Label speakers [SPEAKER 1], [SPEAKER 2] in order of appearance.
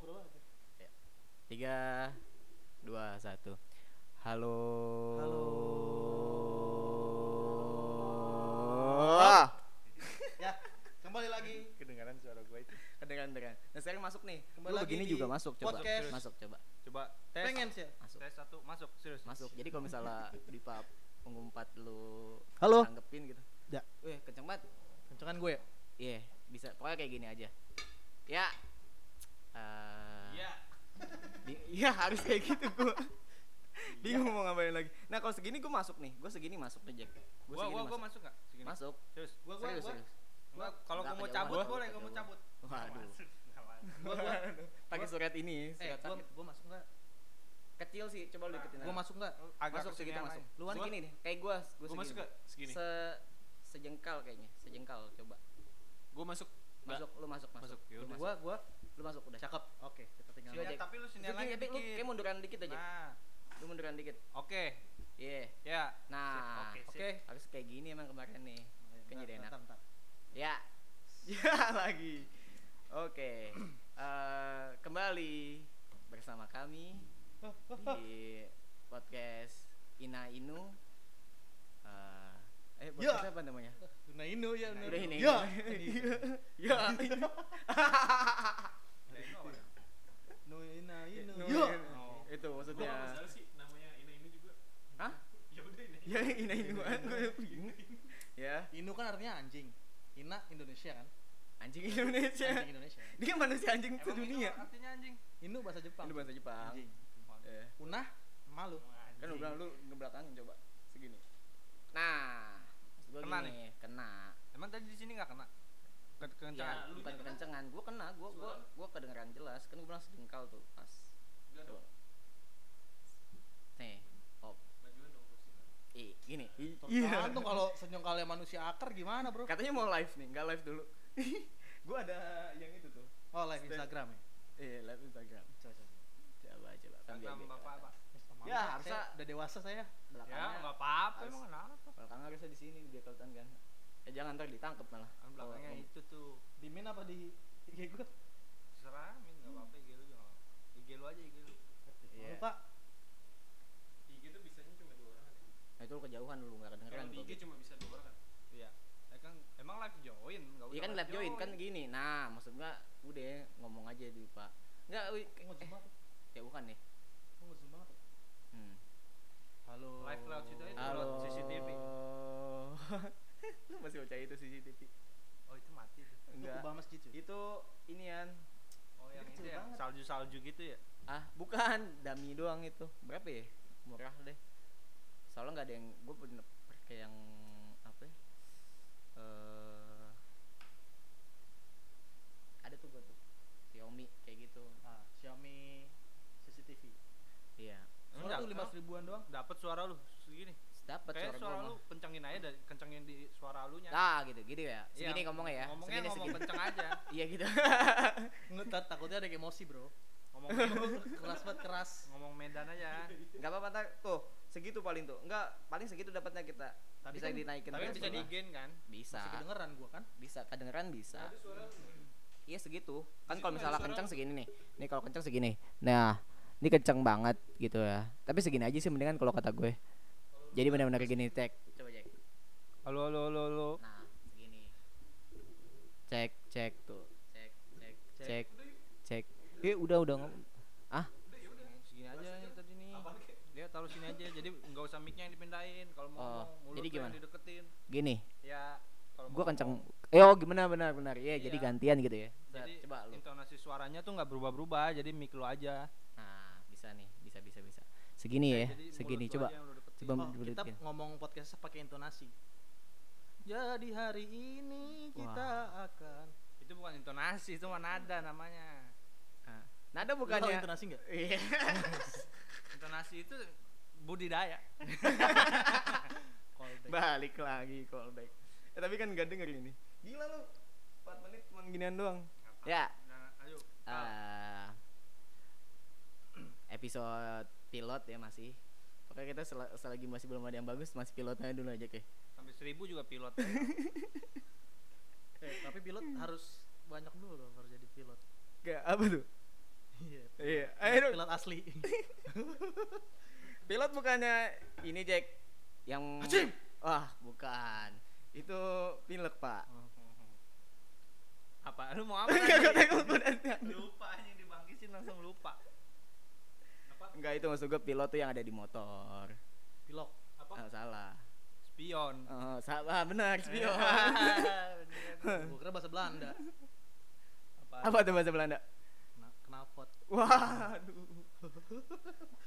[SPEAKER 1] ya.
[SPEAKER 2] Tiga, dua, satu. Halo.
[SPEAKER 3] Halo.
[SPEAKER 2] Wah,
[SPEAKER 3] ya kembali lagi
[SPEAKER 1] kedengaran suara gue itu
[SPEAKER 2] kedengeran kedengeran. Nah sekarang masuk nih.
[SPEAKER 3] Kembali
[SPEAKER 2] Lu
[SPEAKER 3] lagi
[SPEAKER 2] begini
[SPEAKER 3] di
[SPEAKER 2] juga masuk coba.
[SPEAKER 3] podcast.
[SPEAKER 2] Masuk coba.
[SPEAKER 1] coba tes
[SPEAKER 3] pengen sih ya?
[SPEAKER 2] Masuk.
[SPEAKER 1] tes satu masuk serius
[SPEAKER 2] Masuk. Jadi kalau misalnya di pub pengumpat lu
[SPEAKER 3] Halo.
[SPEAKER 2] tanggepin gitu.
[SPEAKER 3] Ya.
[SPEAKER 2] Wih, kenceng banget.
[SPEAKER 3] kencengan gue ya
[SPEAKER 2] Iya, bisa. Pokoknya kayak gini aja. Ya.
[SPEAKER 3] Ya.
[SPEAKER 2] Eh,
[SPEAKER 1] iya
[SPEAKER 2] Bi- Iya harus kayak gitu gua Bingung mau ngapain lagi Nah kalau segini gue masuk nih Gue segini masuk nih Jack Gue
[SPEAKER 1] gua
[SPEAKER 2] segini
[SPEAKER 1] gua
[SPEAKER 2] masuk.
[SPEAKER 1] gua masuk nggak segini
[SPEAKER 2] masuk
[SPEAKER 1] serius
[SPEAKER 3] gue gue
[SPEAKER 2] Serius
[SPEAKER 3] gue
[SPEAKER 2] serius
[SPEAKER 1] gua kalau
[SPEAKER 2] Nggak
[SPEAKER 1] gua mau
[SPEAKER 2] kejauhan,
[SPEAKER 1] cabut
[SPEAKER 2] nggak
[SPEAKER 1] boleh gua mau
[SPEAKER 2] kejauhan.
[SPEAKER 1] cabut
[SPEAKER 2] Waduh
[SPEAKER 3] gue gue
[SPEAKER 2] Pakai surat ini
[SPEAKER 3] eh
[SPEAKER 2] surat
[SPEAKER 3] gue
[SPEAKER 2] sakit.
[SPEAKER 3] gue masuk nggak
[SPEAKER 2] Kecil sih coba lu deketin
[SPEAKER 3] gue
[SPEAKER 2] aja.
[SPEAKER 3] masuk nggak
[SPEAKER 2] Masuk segitu masuk Luan gini nih Kayak gue Gue
[SPEAKER 1] gua masuk nggak segini
[SPEAKER 2] Se Sejengkal kayaknya Sejengkal coba
[SPEAKER 1] gua masuk Nggak.
[SPEAKER 2] Masuk lu masuk masuk
[SPEAKER 1] Masuk,
[SPEAKER 2] Lu
[SPEAKER 1] yaudah.
[SPEAKER 2] masuk
[SPEAKER 3] gue gue
[SPEAKER 2] Lu masuk udah
[SPEAKER 3] cakep oke kita tinggal
[SPEAKER 2] Sini
[SPEAKER 1] Ya,
[SPEAKER 2] Jack.
[SPEAKER 1] tapi lu sini
[SPEAKER 2] Segini, tapi
[SPEAKER 1] lagi
[SPEAKER 2] lu kayak
[SPEAKER 1] dikit
[SPEAKER 2] munduran dikit aja
[SPEAKER 1] nah
[SPEAKER 2] Lu munduran dikit
[SPEAKER 1] oke
[SPEAKER 2] Iya
[SPEAKER 1] ya
[SPEAKER 2] Nah
[SPEAKER 1] Oke, sip.
[SPEAKER 2] Oke Harus kayak gini emang kemarin nih
[SPEAKER 3] Iya,
[SPEAKER 2] Kan jadi enak.
[SPEAKER 3] Bentar, bentar.
[SPEAKER 2] Ya. Ya lagi. Oke. Eh, kembali bersama kami
[SPEAKER 3] Oh,
[SPEAKER 2] di podcast Ina Inu. Eh, eh podcast apa namanya?
[SPEAKER 1] Iya.
[SPEAKER 3] Una Inu ya Una
[SPEAKER 2] Udah ini.
[SPEAKER 3] ya
[SPEAKER 2] Ya.
[SPEAKER 1] Iya.
[SPEAKER 3] Nu Ina Inu
[SPEAKER 2] Inu.
[SPEAKER 3] ya
[SPEAKER 1] Oh.
[SPEAKER 2] Itu maksudnya.
[SPEAKER 1] sih namanya ini ini juga
[SPEAKER 2] Hah?
[SPEAKER 1] ya udah ini
[SPEAKER 2] Ya Ina Inu. Ya,
[SPEAKER 3] Inu kan artinya anjing Ina Indonesia kan
[SPEAKER 2] anjing Indonesia.
[SPEAKER 3] anjing Indonesia
[SPEAKER 2] Dia kan manusia anjing sedunia.
[SPEAKER 1] artinya anjing
[SPEAKER 3] Inu bahasa Jepang
[SPEAKER 2] Ini bahasa Jepang.
[SPEAKER 3] anjing
[SPEAKER 2] Eh.
[SPEAKER 3] Una malu
[SPEAKER 2] kan lu bilang lu ngebelakangin coba segini nah maksud gua
[SPEAKER 1] Kena
[SPEAKER 2] gini kena
[SPEAKER 1] emang tadi di sini nggak kena
[SPEAKER 2] ya,
[SPEAKER 1] Ke- kekencangan
[SPEAKER 2] bukan kekencengan gua kena gua gua gua kedengeran jelas kan gua bilang sejengkal tuh pas coba nih op i gini I-
[SPEAKER 3] tergantung kalau senyongkalnya manusia akar gimana bro
[SPEAKER 2] katanya mau live nih nggak live dulu gua ada yang itu tuh
[SPEAKER 3] oh live
[SPEAKER 2] Stand.
[SPEAKER 3] Instagram ya
[SPEAKER 2] eh live instagram
[SPEAKER 3] coba coba
[SPEAKER 2] coba coba kan biar
[SPEAKER 1] sama
[SPEAKER 2] dia
[SPEAKER 1] bapak apa
[SPEAKER 2] kelihatan.
[SPEAKER 3] Maaf,
[SPEAKER 2] Ya,
[SPEAKER 3] saya
[SPEAKER 2] harusnya
[SPEAKER 3] udah dewasa saya.
[SPEAKER 1] ya
[SPEAKER 2] belakangnya
[SPEAKER 1] Iya, nggak apa-apa
[SPEAKER 2] Harus.
[SPEAKER 1] emang kenapa
[SPEAKER 2] belakangnya harusnya di sini biar kelihatan kan eh jangan ntar ditangkap malah
[SPEAKER 1] kan belakangnya
[SPEAKER 2] Kalau-
[SPEAKER 1] itu tuh
[SPEAKER 3] Di min apa di IG gue?
[SPEAKER 1] Terserah, Min. Gak apa-apa IG lu juga gak apa-apa. IG lu aja, IG lu.
[SPEAKER 2] Iya.
[SPEAKER 3] Lupa.
[SPEAKER 4] IG tuh bisanya cuma dua orang kan ya?
[SPEAKER 2] nah, itu lu kejauhan lu nggak kedengeran gitu.
[SPEAKER 4] Kalau di
[SPEAKER 2] gua
[SPEAKER 4] IG cuma bisa dua orang kan?
[SPEAKER 1] Iya. Ya kan, emang live join. Gak usah
[SPEAKER 2] Iya kan live join kan gini. Nah, maksud gua udah ngomong aja di Pak. Enggak, wi-
[SPEAKER 3] Mau
[SPEAKER 2] eh,
[SPEAKER 3] zumba tuh.
[SPEAKER 2] ya bukan nih.
[SPEAKER 3] Mau zumba tuh.
[SPEAKER 2] Hmm.
[SPEAKER 3] Halo.
[SPEAKER 1] Live lewat situ aja.
[SPEAKER 2] Halo.
[SPEAKER 1] Eh, lewat CCTV.
[SPEAKER 2] Lu masih percaya itu CCTV?
[SPEAKER 1] Oh, itu mati tuh.
[SPEAKER 3] Enggak.
[SPEAKER 2] Enggak.
[SPEAKER 3] Kubah masjid cuy.
[SPEAKER 2] Itu inian.
[SPEAKER 1] Oh, yang
[SPEAKER 3] kecil
[SPEAKER 1] itu ya.
[SPEAKER 3] banget.
[SPEAKER 1] Salju-salju gitu ya.
[SPEAKER 2] Ah, bukan dummy doang itu. Berapa ya? Murah deh. Soalnya nggak ada yang gue pernah pakai yang apa ya? Eh ada tuh gua tuh. Xiaomi kayak gitu.
[SPEAKER 3] Ah, Xiaomi CCTV.
[SPEAKER 2] Iya.
[SPEAKER 3] Soalnya
[SPEAKER 1] Enggak,
[SPEAKER 3] tuh lima ribuan doang.
[SPEAKER 1] Dapat suara lu segini.
[SPEAKER 2] Dapat
[SPEAKER 1] Kayak
[SPEAKER 2] gua
[SPEAKER 1] suara
[SPEAKER 2] mah.
[SPEAKER 1] lu kencengin aja dari kencengin di suara lu nya.
[SPEAKER 2] Nah gitu, gitu ya. Segini
[SPEAKER 1] Iya,
[SPEAKER 2] ngomongnya ya.
[SPEAKER 1] Ngomongnya
[SPEAKER 2] segini,
[SPEAKER 1] ngomong
[SPEAKER 2] segini.
[SPEAKER 1] kenceng aja.
[SPEAKER 2] Iya gitu.
[SPEAKER 3] Ngetat takutnya ada yang emosi, Bro.
[SPEAKER 1] Ngomong
[SPEAKER 3] Keras banget keras.
[SPEAKER 1] ngomong Medan aja.
[SPEAKER 2] Enggak apa-apa ntar tuh segitu paling tuh. Enggak, paling segitu dapatnya kita.
[SPEAKER 3] Tadi
[SPEAKER 2] bisa
[SPEAKER 3] kan-
[SPEAKER 2] dinaikin
[SPEAKER 1] Tapi
[SPEAKER 2] terus
[SPEAKER 1] bisa
[SPEAKER 2] lah.
[SPEAKER 1] di-gain kan?
[SPEAKER 2] Bisa.
[SPEAKER 3] Masih kedengeran gua kan?
[SPEAKER 2] Bisa kedengeran bisa.
[SPEAKER 4] Ada suara lu nggak?
[SPEAKER 2] Iya segitu.
[SPEAKER 4] Di
[SPEAKER 2] Kan
[SPEAKER 4] situ
[SPEAKER 2] kalau
[SPEAKER 4] ada
[SPEAKER 2] misalnya
[SPEAKER 4] suara.
[SPEAKER 2] kencang segini nih. Nih kalau kencang segini. Nah, ini kencang banget gitu ya. Tapi segini aja sih mendingan kalau kata gue. Jadi benar-benar gini cek. Coba cek.
[SPEAKER 1] Halo, halo, halo, halo.
[SPEAKER 2] Nah, segini. Cek, cek tuh. Cek, cek, cek. Cek. Eh, udah udah ngomong. Ah,
[SPEAKER 1] Segini aja yang tadi nih. Dia taruh sini aja. Jadi nggak usah mic-nya yang dipindahin. Kalau mau
[SPEAKER 2] Oh,
[SPEAKER 1] ngomong, mulut
[SPEAKER 2] jadi
[SPEAKER 1] lu yang
[SPEAKER 2] gimana?
[SPEAKER 1] dideketin.
[SPEAKER 2] gini.
[SPEAKER 1] Ya, kalau
[SPEAKER 2] gue
[SPEAKER 1] mau
[SPEAKER 2] kenceng
[SPEAKER 1] ngomong,
[SPEAKER 2] eh oh gimana benar benar iya jadi
[SPEAKER 1] Iya.
[SPEAKER 2] gantian gitu ya Zat,
[SPEAKER 1] Jadi
[SPEAKER 2] coba lu
[SPEAKER 1] intonasi suaranya tuh nggak berubah-berubah, jadi mic lu aja.
[SPEAKER 2] nah bisa nih bisa bisa bisa segini ya
[SPEAKER 1] Eh, Jadi mulut
[SPEAKER 2] segini
[SPEAKER 1] lu
[SPEAKER 2] coba
[SPEAKER 1] aja yang lu deketin.
[SPEAKER 2] coba
[SPEAKER 3] Oh,
[SPEAKER 2] dulu
[SPEAKER 3] kita
[SPEAKER 2] dikit.
[SPEAKER 3] ngomong podcast pakai intonasi. Jadi hari ini kita akan
[SPEAKER 1] Itu bukan intonasi, itu mah nada namanya.
[SPEAKER 2] Ah. nada
[SPEAKER 3] Lu tahu
[SPEAKER 2] bukannya
[SPEAKER 3] intonasi enggak?
[SPEAKER 2] Iya.
[SPEAKER 1] Intonasi itu budidaya.
[SPEAKER 3] Callback.
[SPEAKER 2] balik lagi callback eh, tapi kan gak denger ini gila lu 4 menit cuma ginian doang ya
[SPEAKER 1] Nah, ayo. Kal.
[SPEAKER 2] eh, episode pilot ya masih Pokoknya kita sel- selagi masih belum ada yang bagus masih pilotnya dulu aja ke
[SPEAKER 1] Sampai seribu juga pilot.
[SPEAKER 3] Eh, tapi pilot harus banyak dulu loh baru jadi pilot.
[SPEAKER 2] Gak apa tuh
[SPEAKER 3] Iya.
[SPEAKER 2] iya Eh, lu-
[SPEAKER 3] pilot asli.
[SPEAKER 2] Pilot bukannya ini Jack yang Wah, bukan. Itu pilek, Pak.
[SPEAKER 1] Oh, apa lu mau apa
[SPEAKER 2] Enggak
[SPEAKER 1] tadi?
[SPEAKER 2] tengok badannya.
[SPEAKER 1] lupa anjing dibangkitin langsung lupa
[SPEAKER 2] Enggak itu maksud gue pilot tuh yang ada di motor.
[SPEAKER 3] Pilot.
[SPEAKER 2] Ah,
[SPEAKER 4] Apa?
[SPEAKER 2] salah.
[SPEAKER 1] spion
[SPEAKER 2] Oh, salah benar, spion.
[SPEAKER 3] Gue kira bahasa Belanda.
[SPEAKER 2] Apa tuh bahasa Belanda?
[SPEAKER 3] Kena- Knalpot.
[SPEAKER 2] Waduh.